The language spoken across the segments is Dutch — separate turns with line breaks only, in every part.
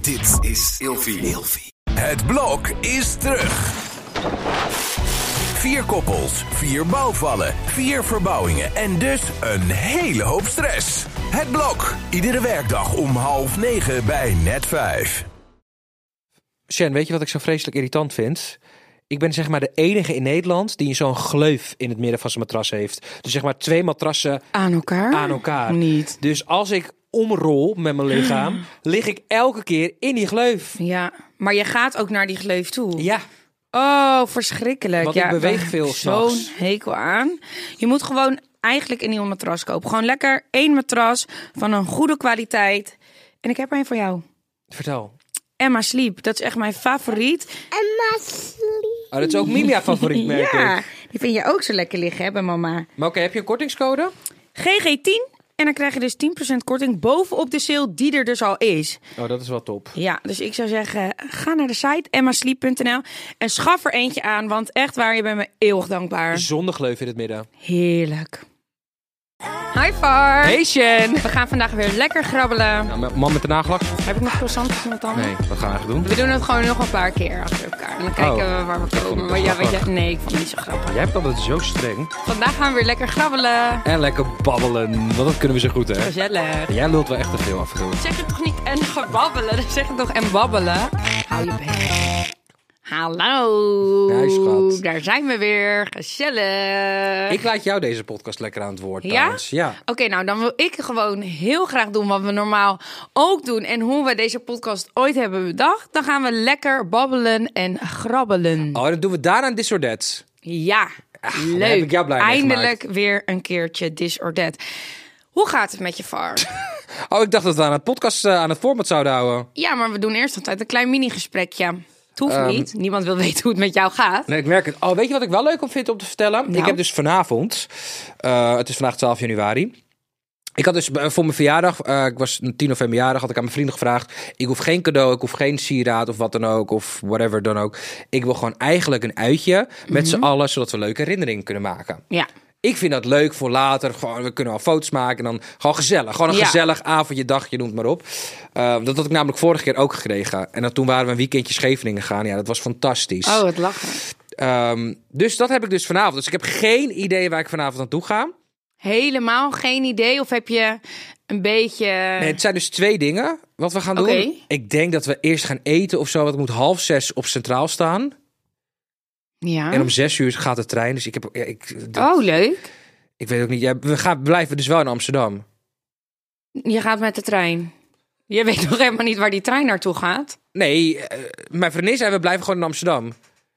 Dit is Ilfie. Het blok is terug. Vier koppels, vier bouwvallen, vier verbouwingen en dus een hele hoop stress. Het blok, iedere werkdag om half negen bij net vijf.
Shen, weet je wat ik zo vreselijk irritant vind? Ik ben zeg maar de enige in Nederland die zo'n gleuf in het midden van zijn matras heeft. Dus zeg maar twee matrassen
Aan elkaar?
aan elkaar.
Ah, Niet.
Dus als ik omrol met mijn lichaam, lig ik elke keer in die gleuf.
Ja, maar je gaat ook naar die gleuf toe.
Ja,
Oh, verschrikkelijk.
Want
ja,
ik beweeg
daar heb
veel
ik Zo'n
s'nachts.
hekel aan. Je moet gewoon eigenlijk een nieuw matras kopen. Gewoon lekker één matras van een goede kwaliteit. En ik heb er een voor jou.
vertel.
Emma Sleep, dat is echt mijn favoriet.
Emma Sleep.
Oh, dat is ook Milia favoriet, merk
ja,
ik.
die vind je ook zo lekker liggen, hè, bij mama.
Maar oké, heb je een kortingscode?
GG10. En dan krijg je dus 10% korting bovenop de sale die er dus al is.
Oh, dat is wel top.
Ja, dus ik zou zeggen, ga naar de site emmasleep.nl en schaf er eentje aan. Want echt waar, je bent me eeuwig dankbaar.
Zonder gleuf in het midden.
Heerlijk. Hi Far.
Hey Shen!
We gaan vandaag weer lekker grabbelen.
Nou, man met de nagelak?
Heb ik nog croissantjes met tanden?
Nee, wat gaan we eigenlijk doen?
We doen het gewoon nog een paar keer achter elkaar. En dan kijken
Oh.
we waar we
vond
komen.
het
Maar ja,
best wel
weet je, nee, ik vond het niet zo grappig.
Jij hebt altijd zo streng.
Vandaag gaan we weer lekker grabbelen.
En lekker babbelen, want dat kunnen we zo goed, hè?
Gezellig.
Jij lult wel echt te veel af en toe.
Zeg het toch niet en gebabbelen? Zeg het toch en babbelen? Hou je bek. Hallo.
Ja, schat.
Daar zijn we weer. Gezellig.
Ik laat jou deze podcast lekker aan het woord,
Ja?
trouwens. Ja?
Oké, nou dan wil ik gewoon heel graag doen wat we normaal ook doen. En hoe we deze podcast ooit hebben bedacht. Dan gaan we lekker babbelen en grabbelen.
Oh, dan doen we daarna een disordet.
Ja, leuk.
daar heb ik jou blij mee
Eindelijk weer een keertje disordet. Hoe gaat het met je VAR?
Oh, ik dacht dat we aan het podcast eh, aan het format zouden houden.
ja, maar we doen eerst altijd een klein mini-gesprekje. Het hoeft
Ehm.
niet. Niemand wil weten hoe het met jou gaat.
Nee, ik merk het. Oh, weet je wat ik wel leuk om vind om te vertellen? Ik heb dus vanavond, eh, het is vandaag 12 januari. Ik had dus eh, voor mijn verjaardag, eh, ik was 10 november jarig, had ik aan mijn vrienden gevraagd. Ik hoef geen cadeau, ik hoef geen sieraad of wat dan ook, of whatever dan ook. Ik wil gewoon eigenlijk een uitje met z'n allen, zodat we leuke herinneringen kunnen maken.
Ja.
Ik vind dat leuk voor later. Gewoon, we kunnen al foto's maken en dan gewoon gezellig. Gewoon een
Ja.
gezellig avondje, dagje, noem het maar op. Eh, dat had ik namelijk vorige keer ook gekregen. En dat, toen waren we een weekendje Scheveningen gaan. Ja, dat was fantastisch.
Oh, het lachen.
Ehm, dus dat heb ik dus vanavond. Dus ik heb geen idee waar ik vanavond aan toe ga.
Helemaal geen idee. Of heb je een beetje...
Nee, het zijn dus twee dingen wat we gaan doen.
Oké.
Ik denk dat we eerst gaan eten of zo. Want het moet half zes op Centraal staan.
Oh. ja.
En om zes uur gaat de trein. Dus ik heb... ja, ik, dat-
Oh, leuk.
ik weet ook niet. Ja, we gaan, blijven dus wel in Amsterdam.
Je gaat met de trein. Je weet nog helemaal niet waar die trein naartoe gaat.
Nee, eh, mijn vriendin zei we blijven gewoon in Amsterdam.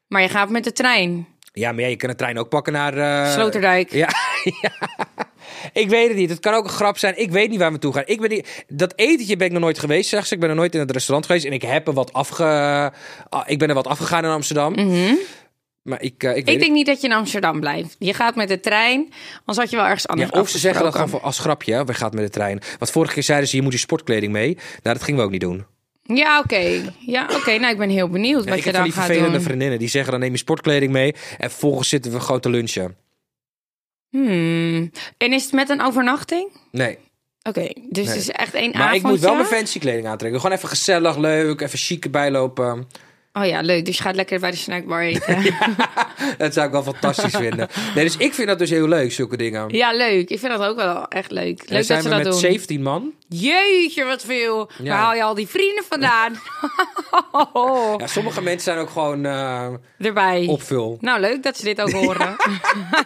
Maar je gaat met de trein.
Ja, maar ja, je kan de trein ook pakken naar... eh,
Sloterdijk.
Ja, ja. ik weet het niet. Het kan ook een grap zijn. Ik weet niet waar we toe gaan. Ik ben niet... Dat etentje ben ik nog nooit geweest, zeg ze. Ik ben nog nooit in het restaurant geweest. En ik, heb er wat afge... ah, ik ben er wat afgegaan in Amsterdam. Maar ik, eh, ik weet
Mhm. Ik denk niet dat je in Amsterdam blijft. Je gaat met de trein, anders had je wel ergens
Ja,
anders
of ze zeggen dat
afgesproken.
gewoon voor- als grapje, hè, we gaan met de trein. Want vorige keer zeiden ze, je moet je sportkleding mee. Nou, dat gingen we ook niet doen.
Ja, oké. Ja, oké. Nou, ik ben heel benieuwd
Ja,
wat
ik
je
heb van
dan
die
gaat
vervelende
doen.
vriendinnen. Die zeggen, dan neem je sportkleding mee. En vervolgens zitten we gewoon te lunchen.
Hmm. En is het met een overnachting?
Nee,
Oké, dus
Nee.
het is echt één
maar
avondje.
ik moet wel mijn fancy kleding aantrekken. Gewoon even gezellig, leuk, even chic bijlopen.
Oh ja, leuk. Dus je gaat lekker bij de snackbar eten.
Dat zou ik wel fantastisch vinden. Nee, dus ik vind dat dus heel leuk, zulke dingen. En
ja, leuk. Ik vind dat ook wel echt leuk.
dan
Leuk
zijn
dat ze
we
dat
met
doen.
17 man.
Jeetje, wat veel.
Ja.
Waar haal je al die vrienden vandaan? Oh.
Ja, sommige mensen zijn ook gewoon eh,
Erbij.
opvul.
Nou, leuk dat ze dit ook horen.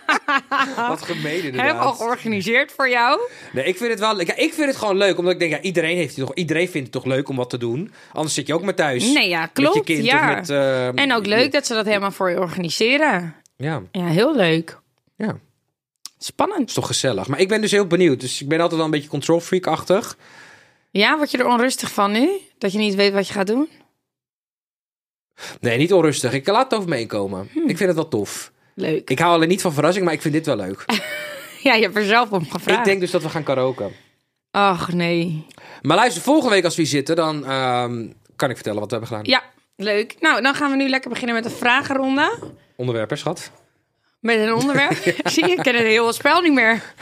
Wat gemeen
Heb al
inderdaad.
georganiseerd voor jou.
Nee, ik vind het wel. Ja, ik vind het gewoon leuk, omdat ik denk, ja, iedereen heeft het toch, iedereen vindt het toch leuk om wat te doen. Anders zit je ook maar thuis.
Nee, ja, klopt.
Met je kind
ja.
of met. eh,
En ook leuk dat ze dat helemaal voor je organiseren.
Ja,
Ja, heel leuk.
ja.
Spannend.
Is toch gezellig. Maar ik ben dus heel benieuwd. Dus ik ben altijd wel een beetje control freak-achtig.
Ja, word je er onrustig van nu? Dat je niet weet wat je gaat doen?
Nee, niet onrustig. Ik laat het over me heen komen.
Hmm.
Ik vind het wel tof.
Leuk.
Ik hou alleen niet van verrassing, maar ik vind dit wel leuk.
Ja, je hebt er zelf om gevraagd.
Ik denk dus dat we gaan karaoke.
Ach, nee.
Maar luister, volgende week als we hier zitten, dan ehm, kan ik vertellen wat we hebben gedaan.
Ja, leuk. Nou, dan gaan we nu lekker beginnen met een vragenronde.
Onderwerpen, schat.
Met een onderwerp. Zie je, ik ken het hele spel niet meer.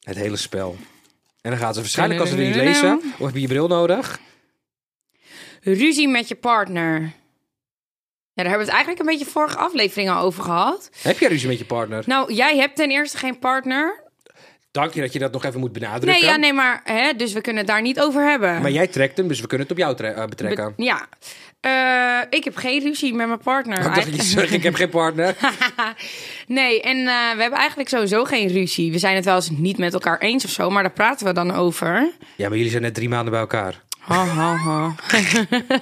Het hele spel. En dan gaat ze waarschijnlijk, als ze het niet lezen, of heb je je bril nodig?
Ruzie met je partner. Ja, daar hebben we het eigenlijk een beetje vorige aflevering al over gehad.
Heb je ruzie met je partner?
Nou, jij hebt ten eerste geen partner.
Dank je dat je dat nog even moet benadrukken.
Nee, ja, nee, maar hè, dus we kunnen het daar niet over hebben.
Maar jij trekt hem, dus we kunnen het op jou tre- eh, betrekken.
Be- ja. Eh, ik heb geen ruzie met mijn partner.
ik dacht dat je zegt, ik heb geen partner.
Nee, en eh, we hebben eigenlijk sowieso geen ruzie. We zijn het wel eens niet met elkaar eens of zo, maar daar praten we dan over.
Ja, maar jullie zijn net drie maanden bij elkaar. Oh,
Ha, ha, ha.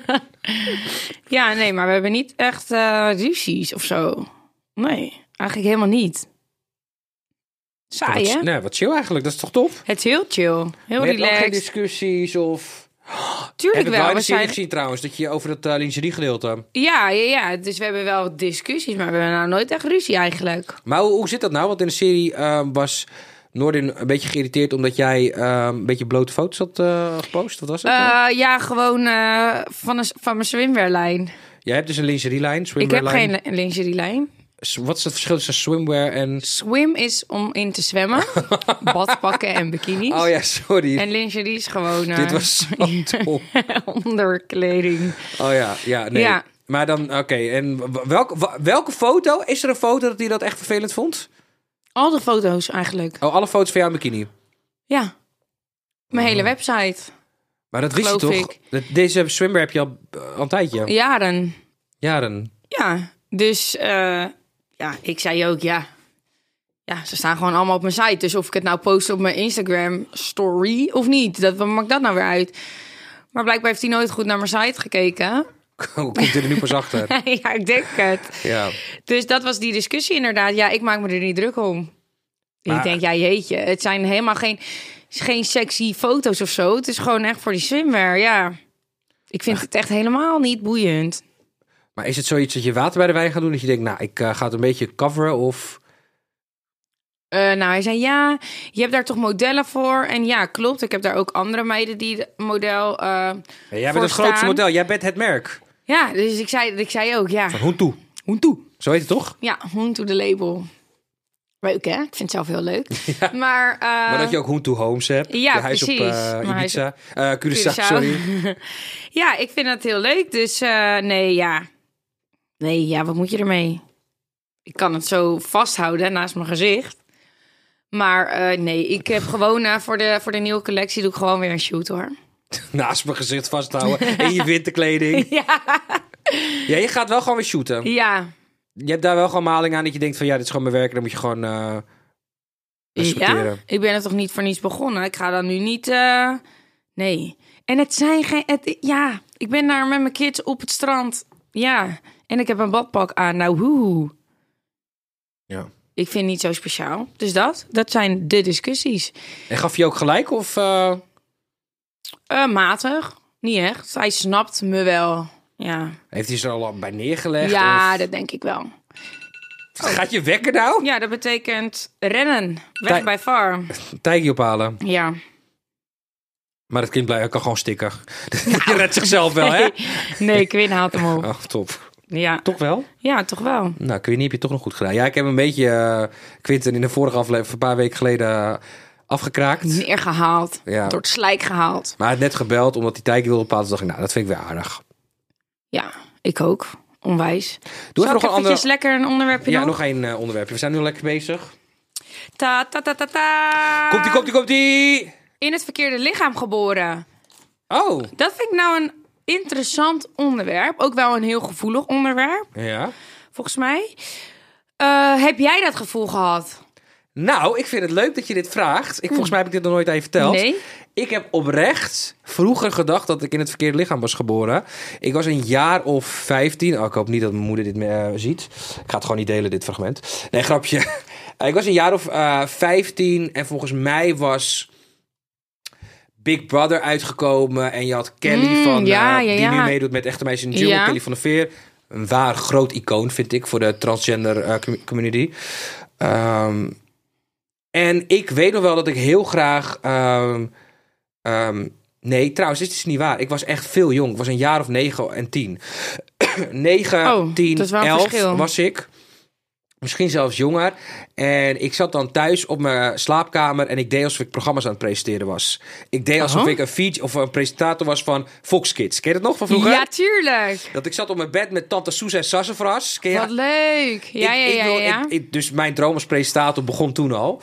ja, nee, maar we hebben niet echt eh, ruzies of zo. Nee, eigenlijk helemaal niet. Saai,
Wat-
hè?
Nee, wat chill eigenlijk. Dat is toch top?
Het is heel chill. Heel
Maar je hebt ook geen
relaxed.
discussies of...
Tuurlijk
dus heb ik wel in
wel. We
de serie
zijn...
gezien trouwens, dat je over dat eh, lingerie gedeelte...
ja, ja, ja, dus we hebben wel discussies, maar we hebben nou nooit echt ruzie eigenlijk.
Maar hoe, hoe zit dat nou? Want in de serie eh, was Noordin een beetje geïrriteerd omdat jij eh, een beetje blote foto's had eh, gepost. Wat was het? nou?
Eh, ja, gewoon eh, van, een, van mijn swimwearlijn.
Jij hebt dus een lingerielijn,
Ik heb
swimwearlijn.
geen li- lingerielijn.
S- Wat is het verschil tussen swimwear en...
Swim is om in te zwemmen. Badpakken en bikinis.
Oh ja, sorry.
En lingerie is gewoon eh,
Dit was zo dom.
onderkleding.
Oh ja, ja, nee.
Ja.
Maar dan, oké. En w- welke, w- welke foto? Is er een foto dat hij dat echt vervelend vond?
Al de foto's eigenlijk.
Oh, alle foto's van jou in bikini.
Ja. Mijn hele website.
Maar dat wist je
Geloof
toch?
ik.
Dat- Deze swimmer heb je al, eh, al een tijdje.
Jaren.
Jaren.
Ja. Dus eh, ja, ik zei ook ja. Ja, ze staan gewoon allemaal op mijn site. Dus of ik het nou post op mijn Instagram story of niet. Dat, wat maakt dat nou weer uit? Maar blijkbaar heeft hij nooit goed naar mijn site gekeken.
Hoe komt dit er nu pas achter?
ja, ik denk het.
Ja.
Dus dat was die discussie inderdaad. Ja, ik maak me er niet druk om.
Maar-
Ik denk, ja jeetje, het zijn helemaal geen, geen sexy foto's of zo. Het is gewoon echt voor die swimwear, ja. Ik vind het echt helemaal niet boeiend.
Maar is het zoiets dat je water bij de wijn gaat doen? Dat je denkt, nou, ik eh, ga het een beetje coveren of...
Eh, nou, hij zei, ja, je hebt daar toch modellen voor? En ja, klopt, ik heb daar ook andere meiden die de- model eh
Ja, jij
voor
bent het grootste
staan.
model. Jij bent het merk.
Ja, dus ik zei, ik zei ook, ja.
Van Huntu. Huntu. Zo heet het toch?
Ja, hoen to the label. Leuk, hè? Ik vind het zelf heel leuk. Maar, eh,
maar dat je ook Huntu Homes hebt.
ja,
Je huis op
precies.
eh,
Mijn huis
Ibiza. Eh, Curaçao,
Curaçao.
sorry.
Ja, ik vind dat heel leuk. Dus eh, nee, ja. Nee, ja, wat moet je ermee? Ik kan het zo vasthouden naast mijn gezicht. Maar eh, nee, ik heb gewoon eh, voor, de, voor de nieuwe collectie doe ik gewoon weer een shoot hoor.
Naast mijn gezicht vasthouden. In je winterkleding.
Ja.
Ja, je gaat wel gewoon weer shooten.
Ja.
Je hebt daar wel gewoon maling aan dat je denkt van... Ja, dit is gewoon mijn werk. Dan moet je gewoon... eh
ja.
respecteren.
Ik ben er toch niet voor niets begonnen. Ik ga dan nu niet. eh, Nee. En het zijn geen. Het, ja, ik ben daar met mijn kids op het strand. Ja. En ik heb een badpak aan. Nou, hoe.
ja.
Ik vind het niet zo speciaal. Dus dat, dat zijn de discussies.
En gaf je ook gelijk of... eh,
Eh, matig. Niet echt. Hij snapt me wel. Ja,
Heeft hij ze er al bij neergelegd?
ja
of-
dat denk ik wel.
Gaat je wekker nou?
Ja, dat betekent rennen. Weg
Tij-
bij VAR.
Tijgje ophalen.
Ja.
Maar dat kind blijft, kan gewoon stikken. je redt zichzelf wel, hè?
Nou. Nee, Quinn haalt hem op.
Oh, top.
Ja,
Toch wel?
ja toch wel.
Nou, Quinty heb je toch nog goed gedaan. Ja, ik heb een beetje eh Quinten in de vorige aflevering, een paar weken geleden, eh, afgekraakt.
Meer gehaald.
Ja.
Door het slijk gehaald.
Maar hij had net gebeld omdat hij Tijgje wilde ophalen. Toen dacht ik, nou, dat vind ik weer aardig.
Ja, ik ook. Onwijs.
Doe
Zal
even nog
ik
een ander...
eventjes lekker een onderwerpje
Ja,
nog?
nog één eh, onderwerpje. We zijn nu lekker bezig.
Ta, ta, ta, ta, ta.
Komt-ie, komt-ie, komt-ie!
In het verkeerde lichaam geboren.
Oh!
Dat vind ik nou een interessant onderwerp. Ook wel een heel gevoelig onderwerp.
Ja.
volgens mij. Eh, heb jij dat gevoel gehad?
Nou, ik vind het leuk dat je dit vraagt. Ik, volgens mij heb ik dit nog nooit aan je verteld.
Hm. Nee.
Ik heb oprecht vroeger gedacht dat ik in het verkeerde lichaam was geboren. Ik was een jaar of 15. Oh, ik hoop niet dat mijn moeder dit eh, ziet. Ik ga het gewoon niet delen, dit fragment. Nee, grapje. Eh, ik was een jaar of eh 15 en volgens mij was Big Brother uitgekomen. En je had Kelly
Mm,
van, eh,
ja, ja,
die nu
ja.
meedoet met Echte Meisjes in de Jungle,
Ja.
Kelly van der Veer. Een waar groot icoon, vind ik, voor de transgender eh, commu- community. Ehm, en ik weet nog wel dat ik heel graag. ehm, ehm, nee, trouwens, dit is niet waar. Ik was echt veel jong. Ik was een jaar of negen en tien. negen,
Oh,
tien,
dat is wel een
elf
verschil.
was ik. Misschien zelfs jonger. En ik zat dan thuis op mijn slaapkamer en ik deed alsof ik programma's aan het presenteren was. Ik deed alsof
Aha.
ik een feature of een presentator was van Fox Kids. Ken je dat nog van vroeger?
Ja, tuurlijk.
Dat ik zat op mijn bed met tante Soes en Sassafras. Ken je-
Wat leuk. Ja,
Ik-
ja,
ik
ja,
wil-
ja. ja.
ik- ik- dus mijn droom als presentator begon toen al.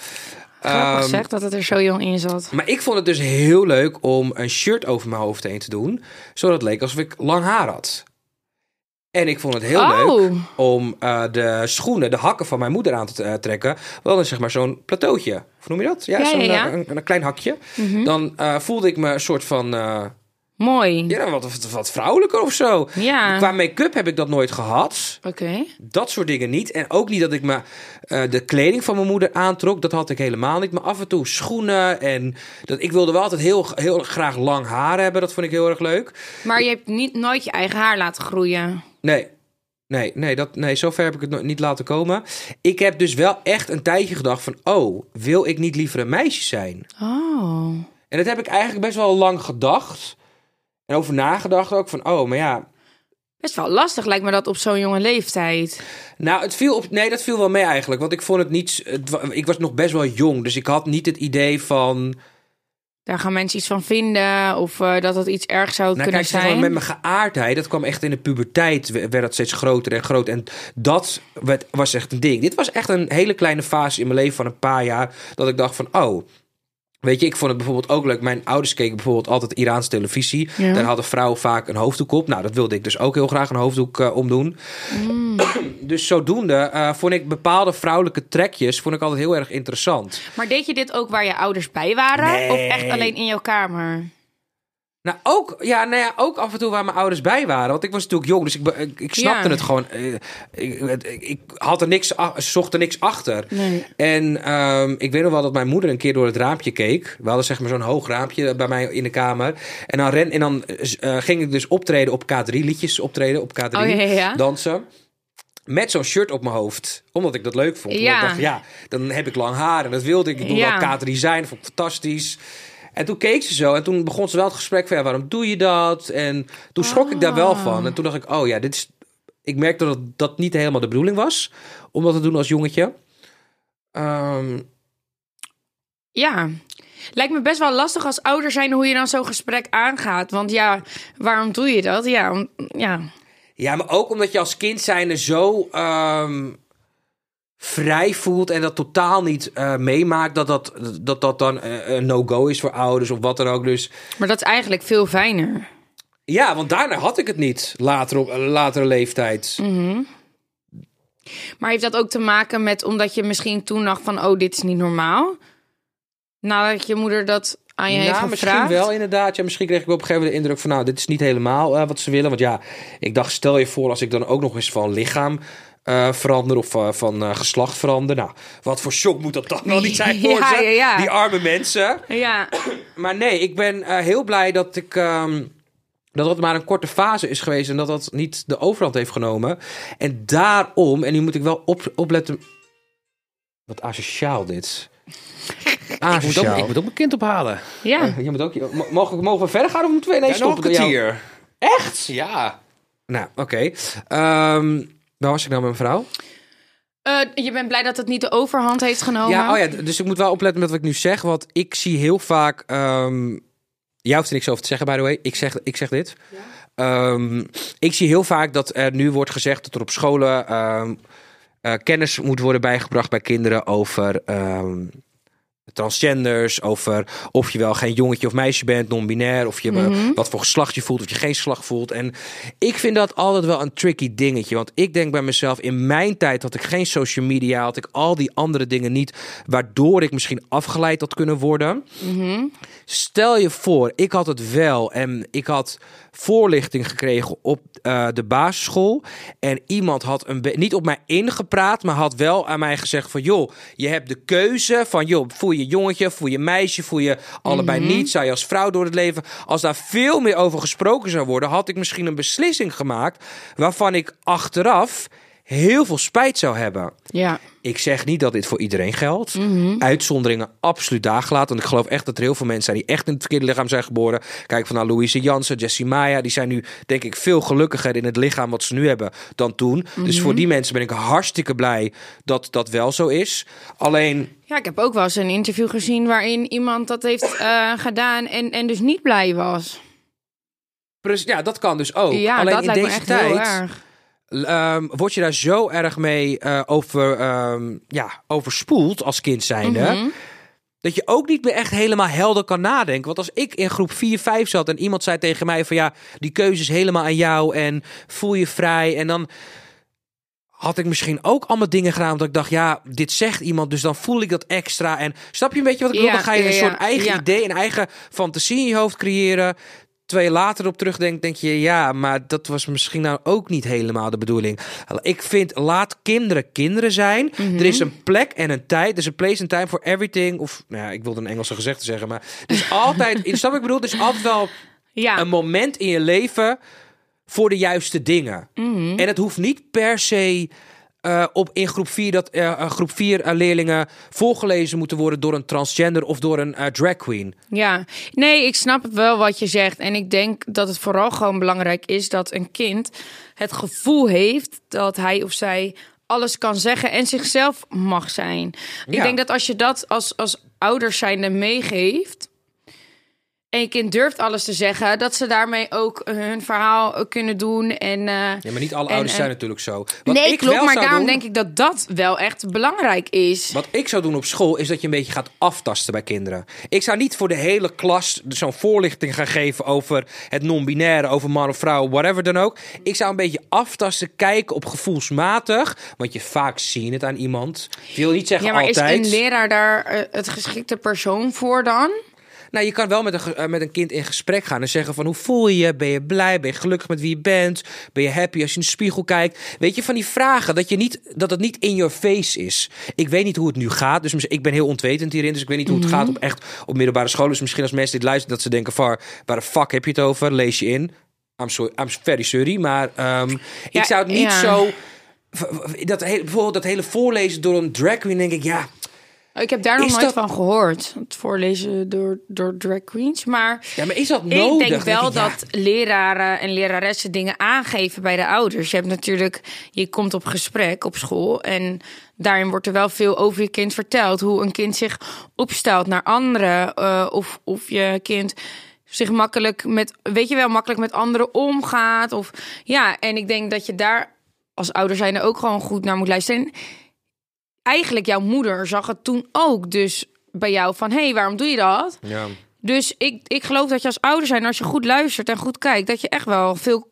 Grappig
Ehm,
zeg dat het er zo jong in zat.
maar ik vond het dus heel leuk om een shirt over mijn hoofd heen te doen. Zodat het leek alsof ik lang haar had. En ik vond het heel
Oh.
leuk om eh, de schoenen, de hakken van mijn moeder aan te eh, trekken. Wel een zeg maar zo'n plateautje. Of noem je dat? Ja,
Ja,
zo'n
ja, ja. Mhm.
eh, Een, een klein hakje. Dan eh, voelde ik me een soort van... eh,
Mooi.
ja, wat, wat, wat vrouwelijker of zo.
Ja.
Qua make-up heb ik dat nooit gehad.
Oké.
Dat soort dingen niet. En ook niet dat ik me eh, de kleding van mijn moeder aantrok. Dat had ik helemaal niet. Maar af en toe schoenen. En dat, ik wilde wel altijd heel, heel graag lang haar hebben. Dat vond ik heel erg leuk.
Maar je hebt niet, nooit je eigen haar laten groeien.
Nee. Nee, nee, dat, nee, zover heb ik het nog niet laten komen. Ik heb dus wel echt een tijdje gedacht van... oh, wil ik niet liever een meisje zijn?
Oh.
En dat heb ik eigenlijk best wel lang gedacht. En over nagedacht ook van... oh, maar ja,
Best wel lastig lijkt me dat op zo'n jonge leeftijd.
Nou, het viel op. Nee, dat viel wel mee eigenlijk. Want ik vond het niet. het wa- ik was nog best wel jong. Dus ik had niet het idee van.
Daar gaan mensen iets van vinden of eh, dat dat iets erg zou
Nou,
kunnen
kijk, zeg maar,
zijn.
met mijn geaardheid. Dat kwam echt in de puberteit. we- werd dat steeds groter en groter. En dat werd, was echt een ding. Dit was echt een hele kleine fase in mijn leven van een paar jaar. Dat ik dacht van. Oh. Weet je, ik vond het bijvoorbeeld ook leuk. Mijn ouders keken bijvoorbeeld altijd Iraanse televisie.
Ja.
Daar hadden vrouwen vaak een hoofddoek op. Nou, dat wilde ik dus ook heel graag een hoofddoek eh, omdoen.
Mm.
Dus zodoende eh, vond ik bepaalde vrouwelijke trekjes vond ik altijd heel erg interessant.
Maar deed je dit ook waar je ouders bij waren?
Nee.
Of echt alleen in jouw kamer?
Nou, ook, ja, nou ja, ook af en toe waar mijn ouders bij waren. Want ik was natuurlijk jong, dus ik, be- ik, ik snapte
Ja.
het gewoon. eh, ik, het- ik, ik had er niks, a- zocht er niks achter.
Nee.
En ehm, ik weet nog wel dat mijn moeder een keer door het raampje keek. We hadden zeg maar zo'n hoog raampje bij mij in de kamer. En dan, ren, en dan eh, ging ik dus optreden op K3, liedjes optreden op K3.
Oh, ja, ja, ja.
Dansen. Met zo'n shirt op mijn hoofd. Omdat ik dat leuk vond. Omdat
Ja.
ik dacht, ja, dan heb ik lang haar en dat wilde ik. Ik wilde
Ja.
wel K3 zijn, dat vond ik fantastisch. En toen keek ze zo en toen begon ze wel het gesprek van ja, waarom doe je dat? En toen schrok ik daar wel van. En toen dacht ik, oh ja, dit is. Ik merkte dat dat niet helemaal de bedoeling was om dat te doen als jongetje. Ehm,
Ja. Lijkt me best wel lastig als ouder zijn hoe je dan zo'n gesprek aangaat. Want ja, waarom doe je dat? Ja, om- ja.
ja, maar ook omdat je als kind zijnde zo ehm, vrij voelt en dat totaal niet eh, meemaakt, dat dat, dat dat dan eh, een no-go is voor ouders of wat dan ook. Dus
Maar dat is eigenlijk veel fijner.
ja, want daarna had ik het niet later op eh, latere leeftijd.
Mhm. Maar heeft dat ook te maken met omdat je misschien toen dacht van... oh, dit is niet normaal? Nadat je moeder dat aan je heeft
Nou,
gevraagd?
misschien wel inderdaad. Ja, misschien kreeg ik op een gegeven moment de indruk van... nou, dit is niet helemaal eh, wat ze willen. Want ja, ik dacht, stel je voor als ik dan ook nog eens van lichaam eh, verander... of eh, van eh, geslacht verander. Nou, wat voor shock moet dat dan wel niet zijn voor
Ja,
ze?
ja, ja.
Die arme mensen.
Ja,
Maar nee, ik ben eh, heel blij dat ik... ehm, dat dat maar een korte fase is geweest en dat dat niet de overhand heeft genomen. En daarom, en nu moet ik wel op, opletten. Wat asociaal dit. Ah,
moet ook,
Asociaal.
ik moet ook mijn kind ophalen.
ja.
Je moet ook, m- mogen, mogen we verder gaan of moeten we ineens stoppen? door jou?
Echt? Ja.
Nou, oké. Ehm, waar was ik nou met mijn vrouw?
Eh, je bent blij dat het niet de overhand heeft genomen?
Ja, oh ja, d- dus ik moet wel opletten met wat ik nu zeg. Want ik zie heel vaak... ehm jij hoeft er niks over te zeggen, by the way. Ik zeg, ik zeg dit. Ehm, ik zie heel vaak dat er nu wordt gezegd dat er op scholen... ehm, eh, kennis moet worden bijgebracht bij kinderen over... ehm, transgenders, over of je wel geen jongetje of meisje bent, non-binair, of je eh, wat voor geslacht je voelt, of je geen geslacht voelt. En ik vind dat altijd wel een tricky dingetje, want ik denk bij mezelf, in mijn tijd had ik geen social media, had ik al die andere dingen niet, waardoor ik misschien afgeleid had kunnen worden. Stel je voor, ik had het wel en ik had voorlichting gekregen op eh, de basisschool. En iemand had een be- niet op mij ingepraat, maar had wel aan mij gezegd van... joh, je hebt de keuze van joh, voel je jongetje, voel je meisje, voel je allebei niet. Zou je als vrouw door het leven... Als daar veel meer over gesproken zou worden, had ik misschien een beslissing gemaakt... waarvan ik achteraf heel veel spijt zou hebben.
Ja.
Ik zeg niet dat dit voor iedereen geldt.
Mhm.
Uitzonderingen absoluut daagelaten. Want ik geloof echt dat er heel veel mensen zijn die echt in het verkeerde lichaam zijn geboren. Kijk van naar Louise Jansen, Jessie Maya. Die zijn nu, denk ik, veel gelukkiger in het lichaam wat ze nu hebben dan toen. Dus
Mhm.
voor die mensen ben ik hartstikke blij dat dat wel zo is. Alleen,
Ja, ik heb ook wel eens een interview gezien waarin iemand dat heeft eh, gedaan en, en dus niet blij was.
pres- ja, dat kan dus ook.
ja,
Alleen
dat
in
lijkt
deze
me echt
tijd.
heel erg.
ehm, word je daar zo erg mee eh, over, ehm, ja, overspoeld als kind zijnde. Dat je ook niet meer echt helemaal helder kan nadenken. Want als ik in groep 4, 5 zat en iemand zei tegen mij van ja, die keuze is helemaal aan jou en voel je vrij. En dan had ik misschien ook allemaal dingen gedaan omdat ik dacht ja, dit zegt iemand, dus dan voel ik dat extra. En snap je een beetje wat ik bedoel?
Ja,
Dan ga je
ja,
een
ja,
soort eigen
ja.
idee, een eigen fantasie in je hoofd creëren. Terwijl je later op terugdenkt, denk je ja, maar dat was misschien nou ook niet helemaal de bedoeling. Ik vind laat kinderen kinderen zijn.
Mhm.
Er is een plek en een tijd. Er is een place and time for everything. Of nou ja, ik wilde een Engelse gezegde zeggen, maar er is altijd, snap wat ik bedoel, er is altijd wel
Ja,
een moment in je leven voor de juiste dingen.
Mhm.
En het hoeft niet per se eh, op in groep 4 dat eh, eh, groep 4 leerlingen voorgelezen moeten worden door een transgender of door een eh, drag queen.
ja. Nee, ik snap het wel wat je zegt. En ik denk dat het vooral gewoon belangrijk is dat een kind het gevoel heeft dat hij of zij alles kan zeggen en zichzelf mag zijn. Ik
Ja.
denk dat als je dat als, als ouders zijnde meegeeft, en je kind durft alles te zeggen, dat ze daarmee ook hun verhaal eh, kunnen doen. En, eh,
Ja, maar niet alle
en-
ouders
en-
zijn natuurlijk zo. Wat
Nee,
ik
klopt,
wel
maar
zou
daarom
doen,
denk ik dat dat wel echt belangrijk is.
Wat ik zou doen op school is dat je een beetje gaat aftasten bij kinderen. Ik zou niet voor de hele klas zo'n voorlichting gaan geven over het non-binaire, over man of vrouw, whatever dan ook. Ik zou een beetje aftasten, kijken op gevoelsmatig, want je vaak zien het aan iemand. Ik wil niet zeggen
Ja, maar
altijd.
is een leraar daar eh, het geschikte persoon voor dan?
Nou, je kan wel met een, ge- eh, met een kind in gesprek gaan en zeggen van hoe voel je je? Ben je blij? Ben je gelukkig met wie je bent? Ben je happy als je in de spiegel kijkt? Weet je, van die vragen, dat, je niet, dat het niet in your face is. Ik weet niet hoe het nu gaat, dus mis- ik ben heel ontwetend hierin, dus ik weet niet hoe
Mhm.
het gaat op echt op middelbare scholen. Dus misschien als mensen dit luisteren, dat ze denken van waar de fuck heb je het over? Lees je in. I'm, sorry, I'm very sorry, maar ehm,
Ja,
ik zou het niet
ja.
zo... v- v- Dat hele, bijvoorbeeld dat hele voorlezen door een drag queen, denk ik, ja...
Ik heb daar nog
Is
nooit
dat-
van gehoord. Het voorlezen door, door drag queens. Maar,
Ja, maar is dat nodig?
Ik denk
Dan
wel
ik, ja.
dat leraren en leraressen dingen aangeven bij de ouders. Je hebt natuurlijk, je komt op gesprek op school. En daarin wordt er wel veel over je kind verteld. Hoe een kind zich opstelt naar anderen. eh, of, of je kind zich makkelijk met, weet je wel, makkelijk met anderen omgaat. Of, ja, en ik denk dat je daar als ouder zijn er ook gewoon goed naar moet luisteren. En eigenlijk jouw moeder zag het toen ook dus bij jou van... hé, hey, waarom doe je dat?
Ja.
Dus ik, ik geloof dat je als ouder zijn, als je goed luistert en goed kijkt... dat je echt wel veel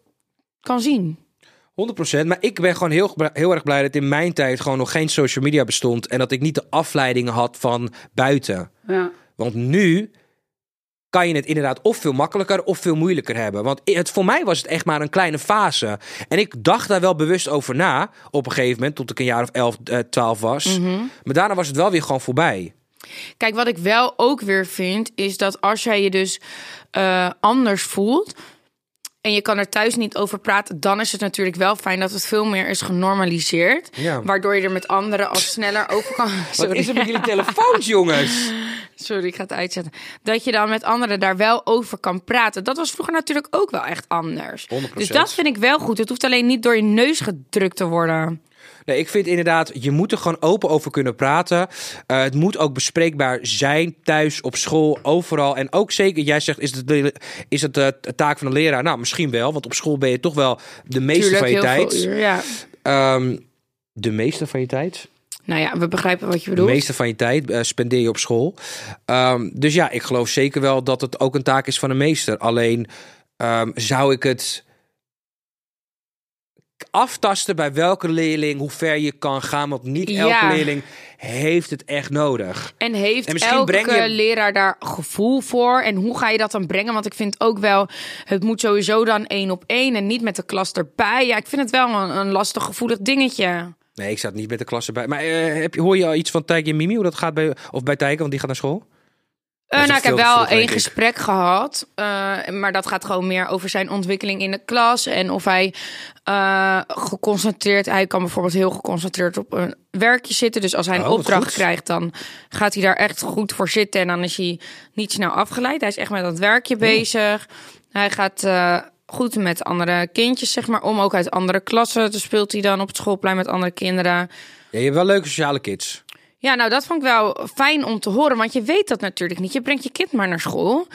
kan zien.
100%. Maar ik ben gewoon heel, gebra- heel erg blij dat in mijn tijd gewoon nog geen social media bestond. En dat ik niet de afleidingen had van buiten.
Ja.
Want nu kan je het inderdaad of veel makkelijker of veel moeilijker hebben. Want i- het, voor mij was het echt maar een kleine fase. En ik dacht daar wel bewust over na op een gegeven moment. Tot ik een jaar of 11, eh, 12 was. Maar daarna was het wel weer gewoon voorbij.
Kijk, wat ik wel ook weer vind, is dat als jij je dus eh, anders voelt. En je kan er thuis niet over praten, dan is het natuurlijk wel fijn dat het veel meer is genormaliseerd.
Ja.
Waardoor je er met anderen al sneller over kan.
Wat
Sorry.
is er met jullie telefoons, jongens?
Sorry, ik ga het uitzetten. Dat je dan met anderen daar wel over kan praten. Dat was vroeger natuurlijk ook wel echt anders.
100%.
Dus dat vind ik wel goed. Het hoeft alleen niet door je neus gedrukt te worden.
Nee, ik vind inderdaad, je moet er gewoon open over kunnen praten. Eh, het moet ook bespreekbaar zijn, thuis, op school, overal. En ook zeker, jij zegt, is het, de, is het eh, de taak van een leraar? Nou, misschien wel, want op school ben je toch wel de meeste van je tijd.
veel uur. Ja.
Ehm, de meeste van je tijd?
Nou ja, we begrijpen wat je
De
bedoelt.
meeste van je tijd eh, spendeer je op school. Ehm, dus ja, ik geloof zeker wel dat het ook een taak is van een meester. Alleen ehm, zou ik het aftasten bij welke leerling, hoe ver je kan gaan. Want niet elke
Ja.
leerling heeft het echt nodig.
En heeft
En misschien
elke
breng je-
leraar daar gevoel voor? En hoe ga je dat dan brengen? Want ik vind ook wel, het moet sowieso dan één op één en niet met de klas erbij. Ja, ik vind het wel een, een lastig gevoelig dingetje.
Nee, ik zat niet met de klasse bij. Maar eh, heb je, hoor je al iets van Tijke en Mimi? Hoe dat gaat bij, of bij Tijke, want die gaat naar school?
Eh,
is
nou,
ook
ik heb
veel te
wel
vroeg,
één
denk ik.
gesprek gehad. eh, maar dat gaat gewoon meer over zijn ontwikkeling in de klas. En of hij eh, geconcentreerd... Hij kan bijvoorbeeld heel geconcentreerd op een werkje zitten. Dus als hij een
Oh, wat
opdracht
goed.
krijgt, dan gaat hij daar echt goed voor zitten. En dan is hij niet snel afgeleid. Hij is echt met dat werkje
Oh.
bezig. Hij gaat eh, goed met andere kindjes, zeg maar, om. Ook uit andere klassen. Dus speelt hij dan op het schoolplein met andere kinderen.
Ja, je hebt wel leuke sociale kids.
Ja, nou, dat vond ik wel fijn om te horen, want je weet dat natuurlijk niet. Je brengt je kind maar naar school.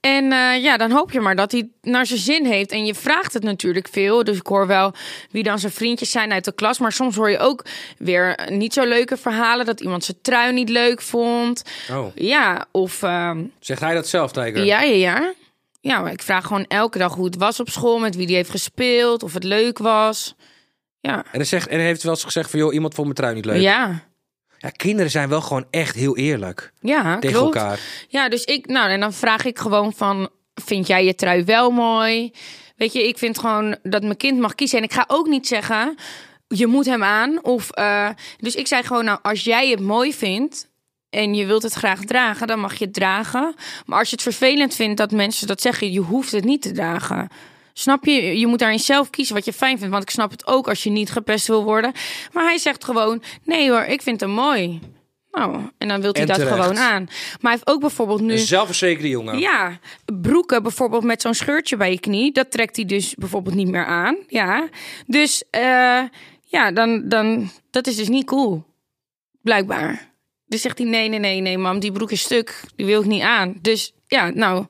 En eh, ja, dan hoop je maar dat hij het naar zijn zin heeft. En je vraagt het natuurlijk veel. Dus ik hoor wel wie dan zijn vriendjes zijn uit de klas. Maar soms hoor je ook weer niet zo leuke verhalen. Dat iemand zijn trui niet leuk vond.
Oh.
Ja, of ehm,
Zegt hij dat zelf, Tiger?
ja, ja, ja. Ja, maar ik vraag gewoon elke dag hoe het was op school. Met wie die heeft gespeeld. Of het leuk was. Ja.
En, dan zegt, en hij heeft wel eens gezegd van, joh, iemand vond mijn trui niet leuk.
Ja.
Ja, kinderen zijn wel gewoon echt heel eerlijk
Ja,
tegen
klopt.
elkaar.
Ja, dus ik, nou, en dan vraag ik gewoon van, vind jij je trui wel mooi? Weet je, ik vind gewoon dat mijn kind mag kiezen. En ik ga ook niet zeggen, je moet hem aan. Of, eh, dus ik zei gewoon, nou, als jij het mooi vindt en je wilt het graag dragen, dan mag je het dragen. Maar als je het vervelend vindt dat mensen dat zeggen, je hoeft het niet te dragen. Snap je? Je moet daarin zelf kiezen wat je fijn vindt. Want ik snap het ook als je niet gepest wil worden. Maar hij zegt gewoon, nee hoor, ik vind hem mooi. Nou, en dan wil hij
En
dat
terecht. Dus
gewoon aan. Maar hij heeft ook bijvoorbeeld nu...
Een zelfverzekerde jongen.
Dus- Ja, broeken bijvoorbeeld met zo'n scheurtje bij je knie, dat trekt hij dus bijvoorbeeld niet meer aan. Ja, dus eh, ja, dan, dan, dat is dus niet cool, blijkbaar. Dus zegt hij, nee, nee, nee, nee, mam, die broek is stuk, die wil ik niet aan. Dus ja, nou,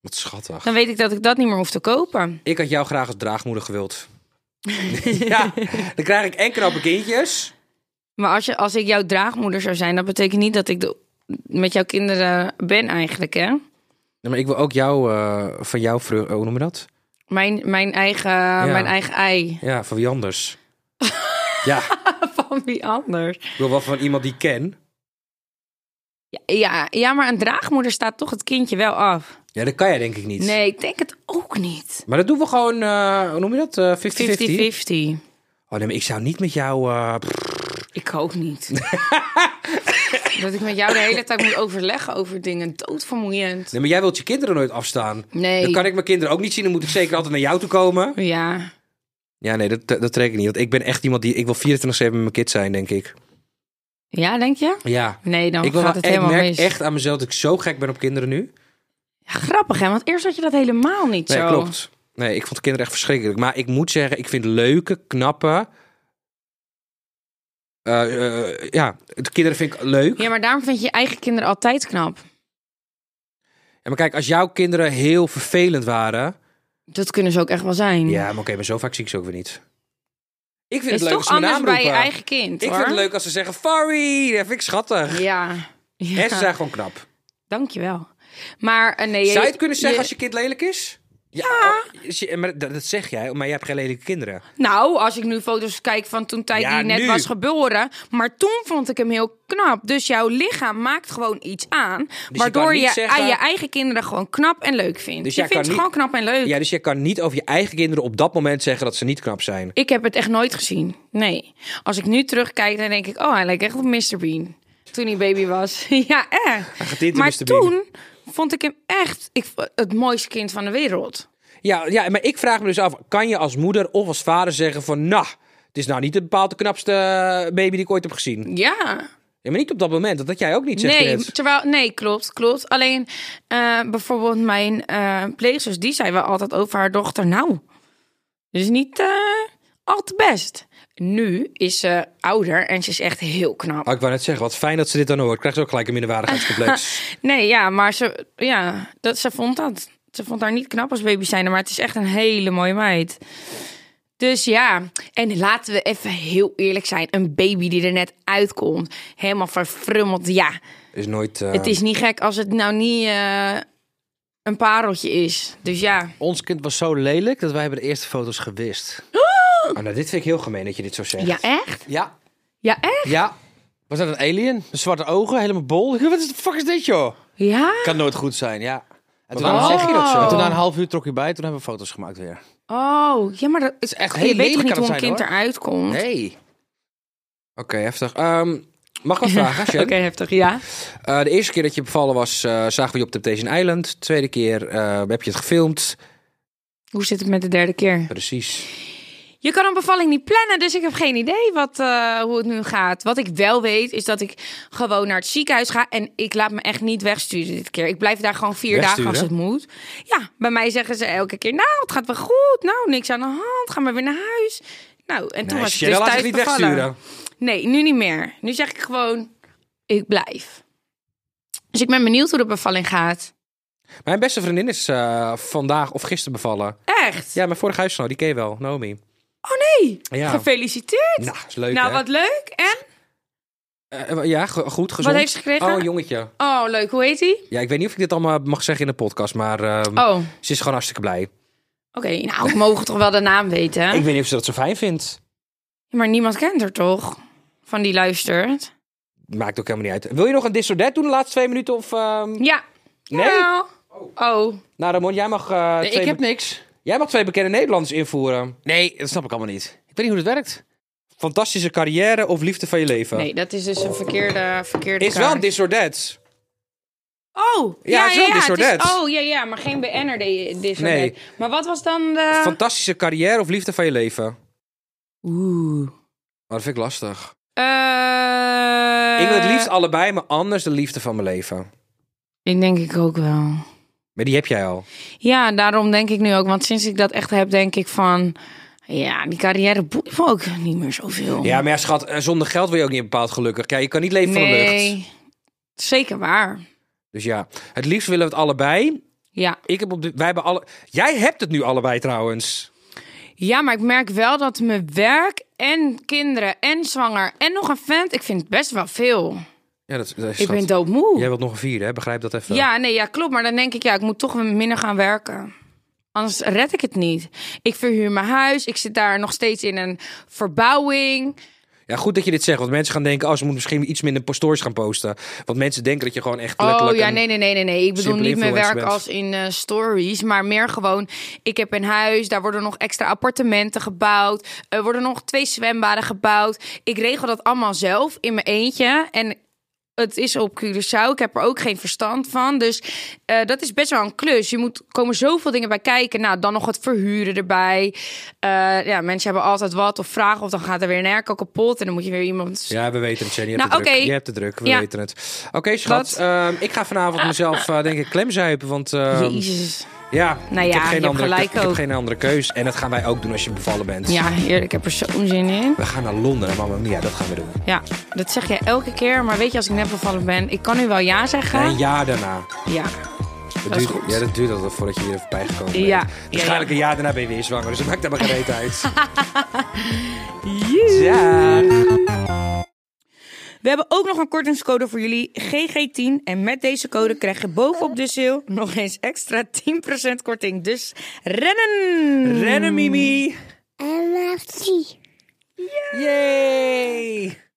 Wat schattig.
dan weet ik dat ik dat niet meer hoef te kopen.
Ik had jou graag als draagmoeder gewild. ja, dan krijg ik en knappe kindjes.
Maar als, je, als ik jouw draagmoeder zou zijn, dat betekent niet dat ik de, met jouw kinderen ben eigenlijk, hè?
Nee, maar ik wil ook jou, eh, van jou, vru- hoe noem je dat?
Mijn, mijn, eigen, mijn eigen ei.
Ja, van wie anders? ja,
Van wie anders?
ik wil wel van iemand die ik ken.
Ja, ja, maar een draagmoeder staat toch het kindje wel af.
Ja, dat kan jij denk ik niet.
Nee, ik denk het ook niet.
Maar dat doen we gewoon, eh, hoe noem je dat? Eh, 50-50?
50-50.
Oh nee, maar ik zou niet met jou... eh, pff,
Ik ook niet. dat ik met jou de hele tijd moet overleggen over dingen. Doodvermoeiend.
nee, maar jij wilt je kinderen nooit afstaan.
Nee.
Dan kan ik mijn kinderen ook niet zien. Dan moet ik zeker altijd naar jou toe komen.
Ja.
Ja, nee, dat, dat trek ik niet. Want ik ben echt iemand die... Ik wil 24-7 met mijn kind zijn, denk ik.
Ja, denk je?
Ja.
Nee, dan
ik wil
Oh, gaat
wel-
het helemaal
ik merk
mis.
echt aan mezelf dat ik zo gek ben op kinderen nu.
Ja, grappig, hè? Want eerst had je dat helemaal niet
Nee,
zo.
klopt. Nee, ik vond kinderen echt verschrikkelijk. Maar ik moet zeggen, ik vind leuke, knappe... eh, eh, ja, de kinderen vind ik leuk.
Ja, maar daarom vind je je eigen kinderen altijd knap.
En maar kijk, als jouw kinderen heel vervelend waren...
Dat kunnen ze ook echt wel zijn.
Ja, maar oké, maar zo vaak zie ik ze ook weer niet. Ik vind
Het Mm. is
het leuk
toch
als ze mijn
anders
naam
bij je
roepen.
eigen kind,
Ik
hoor.
vind het leuk als ze zeggen Farry. Dat vind ik schattig.
Ja. ja.
En ze zijn gewoon knap.
Dankjewel. Maar eh, nee...
Zou je
je-
het kunnen zeggen
je-
als je kind lelijk is? Ja. oh, is je- maar dat, dat zeg jij, maar jij hebt geen lelijke kinderen.
Nou, als ik nu foto's kijk van toen tijd
Ja,
die net
nu.
was geboren. Maar toen vond ik hem heel knap. Dus jouw lichaam maakt gewoon iets aan.
Dus je kan
waardoor
niet
je
zeggen-
aan je eigen kinderen gewoon knap en leuk vindt.
Dus
je
jij
vindt ze
kan
gewoon
niet-
knap en leuk.
Ja, dus je kan niet over je eigen kinderen op dat moment zeggen dat ze niet knap zijn.
Ik heb het echt nooit gezien. Nee. Als ik nu terugkijk, dan denk ik... Oh, hij lijkt echt op Mr. Bean. Toen hij baby was. ja,
gaat
echt.
dit,
Maar
Mr. Bean?
toen vond ik hem echt ik, v- het mooiste kind van de wereld.
Ja, ja, maar ik vraag me dus af, kan je als moeder of als vader zeggen van... Nou, het is nou niet de bepaald de knapste eh, baby die ik ooit heb gezien.
Ja.
Ja, maar niet op dat moment, dat had jij ook niet, zeg je
Nee,
net.
terwijl, nee, klopt, klopt. Alleen eh, bijvoorbeeld mijn eh pleegzus, die zei wel altijd over haar dochter, nou, dus niet eh, al te best. Nu is ze ouder en ze is echt heel knap.
Oh, ik wou net zeggen, wat fijn dat ze dit dan hoort. Krijgt ze ook gelijk een minderwaardigheidscomplex.
Nee, ja, maar ze, ja, dat, ze vond dat. Ze vond haar niet knap als baby zijn, maar het is echt een hele mooie meid. Dus ja, en laten we even heel eerlijk zijn. Een baby die er net uitkomt, helemaal verfrummeld, ja.
is nooit... eh,
Het is niet gek als het nou niet eh, een pareltje is. Dus ja.
Ons kind was zo lelijk dat wij hebben de eerste foto's gewist.
oh, nou, dit vind ik heel gemeen dat je dit zo zegt.
Ja, echt?
Ja.
Ja, echt?
Ja. Was dat een alien? De zwarte ogen, helemaal bol. Ik dacht, Wat is de fuck is dit, joh?
Ja?
Kan nooit goed zijn, ja. En toen,
waarom
na-
zeg je dat zo?
en toen na een half uur trok hij bij, toen hebben we foto's gemaakt weer.
Oh, ja, maar dat
is echt
je
heel
weet toch
lelijk
niet
kan
hoe een
het zijn,
kind
hoor.
eruit komt?
Nee.
Oké, heftig. Ehm, Mag ik wat vragen, Sjen?
Oké, heftig, ja.
Eh, de eerste keer dat je bevallen was, eh, zagen we je op Temptation Island. De tweede keer eh, heb je het gefilmd.
Hoe zit het met de derde keer?
Precies.
Je kan een bevalling niet plannen, dus ik heb geen idee wat, eh, hoe het nu gaat. Wat ik wel weet, is dat ik gewoon naar het ziekenhuis ga. En ik laat me echt niet wegsturen dit keer. Ik blijf daar gewoon vier dagen als het
Wegsturen?
moet. Ja, bij mij zeggen ze elke keer, nou, het gaat wel goed. Nou, niks aan de hand. Ga maar weer naar huis. Nou, en toen was ik
Sjen,
dus
laat
thuis
je niet
bevallen.
wegsturen.
Nee, nu niet meer. Nu zeg ik gewoon, ik blijf. Dus ik ben benieuwd hoe de bevalling gaat.
Mijn beste vriendin is eh, vandaag of gisteren bevallen.
Echt?
Ja, mijn vorige huisgenoot, die ken je wel, Naomi.
Oh nee,
Ja.
gefeliciteerd.
Nou, is leuk
nou,
hè?
wat leuk. En?
Eh, ja, ge- goed, gezond.
heeft ze gekregen?
Oh, jongetje.
Oh, leuk. Hoe heet die?
Ja, ik weet niet of ik dit allemaal mag zeggen in de podcast, maar ehm,
Oh.
ze is gewoon hartstikke blij.
Oké, nou, ik mogen toch wel de naam weten. hè?
Ik weet niet of ze dat zo fijn vindt.
Maar niemand kent haar toch? Van die luistert.
Maakt ook helemaal niet uit. Wil je nog een disordet doen de laatste twee minuten? Of, ehm,
Ja.
Nee?
Jawel. Oh.
Nou, Ramon, jij mag, eh,
Nee,
twee
ik heb
be-
niks.
jij mag twee bekende Nederlanders invoeren.
Nee, dat snap ik allemaal niet. Ik weet niet hoe dat werkt.
Fantastische carrière of liefde van je leven?
Nee, dat is dus een verkeerde, verkeerde
Is wel een
kaart.
disordet.
Oh.
Ja, het is wel een
het
disordet.
Oh, ja, ja. Maar geen BN'er de- disordet.
Nee.
Maar wat was dan de...
Fantastische carrière of liefde van je leven? Maar
Oeh.
dat vind ik lastig.
Eh,
ik wil het liefst allebei, maar anders de liefde van mijn leven.
Ik denk ik ook wel.
Maar die heb jij al.
Ja, daarom denk ik nu ook. Want sinds ik dat echt heb, denk ik van... Ja, die carrière boeit me ook niet meer zoveel.
Ja, maar ja, schat, eh, zonder geld wil je ook niet bepaald gelukkig. Ja, je kan niet leven van de lucht.
Nee. Zeker waar.
Dus ja, het liefst willen we het allebei.
Ja.
Ik heb op de, wij hebben alle, jij hebt het nu allebei trouwens.
ja, maar ik merk wel dat mijn werk en kinderen en zwanger en nog een vent... Ik vind het best wel veel.
Ja, dat,
Eh,
dat is
Ik ben
schat.
doodmoe.
Jij wilt nog een vierde, hè? begrijp dat even.
Ja, nee, ja, klopt. Maar dan denk ik, ja, ik moet toch weer minder gaan werken. Anders red ik het niet. Ik verhuur mijn huis. Ik zit daar nog steeds in een verbouwing.
Ja, goed dat je dit zegt, want mensen gaan denken, oh, ze moeten misschien iets minder stories gaan posten. Want mensen denken dat je gewoon echt
Oh
letterlijk
ja,
een-
nee, nee, nee, nee, nee. Ik bedoel
simpele
niet mijn werk
influencer
als in eh, stories, maar meer gewoon. Ik heb een huis, daar worden nog extra appartementen gebouwd. Er worden nog twee zwembaden gebouwd. Ik regel dat allemaal zelf in mijn eentje. En het is op Curaçao. Ik heb er ook geen verstand van. Dus eh, dat is best wel een klus. Je moet komen zoveel dingen bij kijken. Nou, dan nog het verhuren erbij. Eh, ja, mensen hebben altijd wat of vragen. Of dan gaat er weer een airco kapot. En dan moet je weer iemand.
Ja, we weten het, Jenny. Je hebt,
Nou,
het, druk.
oké.
je hebt het druk, we
Ja.
weten het. Oké, schat,
Wat? Ah,
ehm, ik ga vanavond mezelf, eh, denk ik, klemzuipen, want ehm,
Jezus.
ja,
Nou
ik, heb
ja, je
geen
hebt
andere,
gelijk
ik heb
ook.
geen andere keus. En dat gaan wij ook doen als je bevallen bent.
Ja, heerlijk. Ik heb er zo'n zin in.
We gaan naar Londen, Mama Mia, dat gaan we doen.
Ja, dat zeg jij elke keer. Maar weet je, als ik net bevallen ben, ik kan nu wel ja zeggen.
En een jaar daarna.
Ja.
Dat,
Dat is
duurt,
goed.
ja, dat duurt altijd voordat je weer voorbij gekomen bent.
Ja.
Waarschijnlijk
Ja,
een jaar daarna ben je weer zwanger, dus dat maakt helemaal geen reet uit.
Joe.
ja.
We hebben ook nog een kortingscode voor jullie, GG10. En met deze code krijg je bovenop de sale nog eens extra 10% korting. Dus rennen!
Rennen, Mimi.
I love tea.
Yay.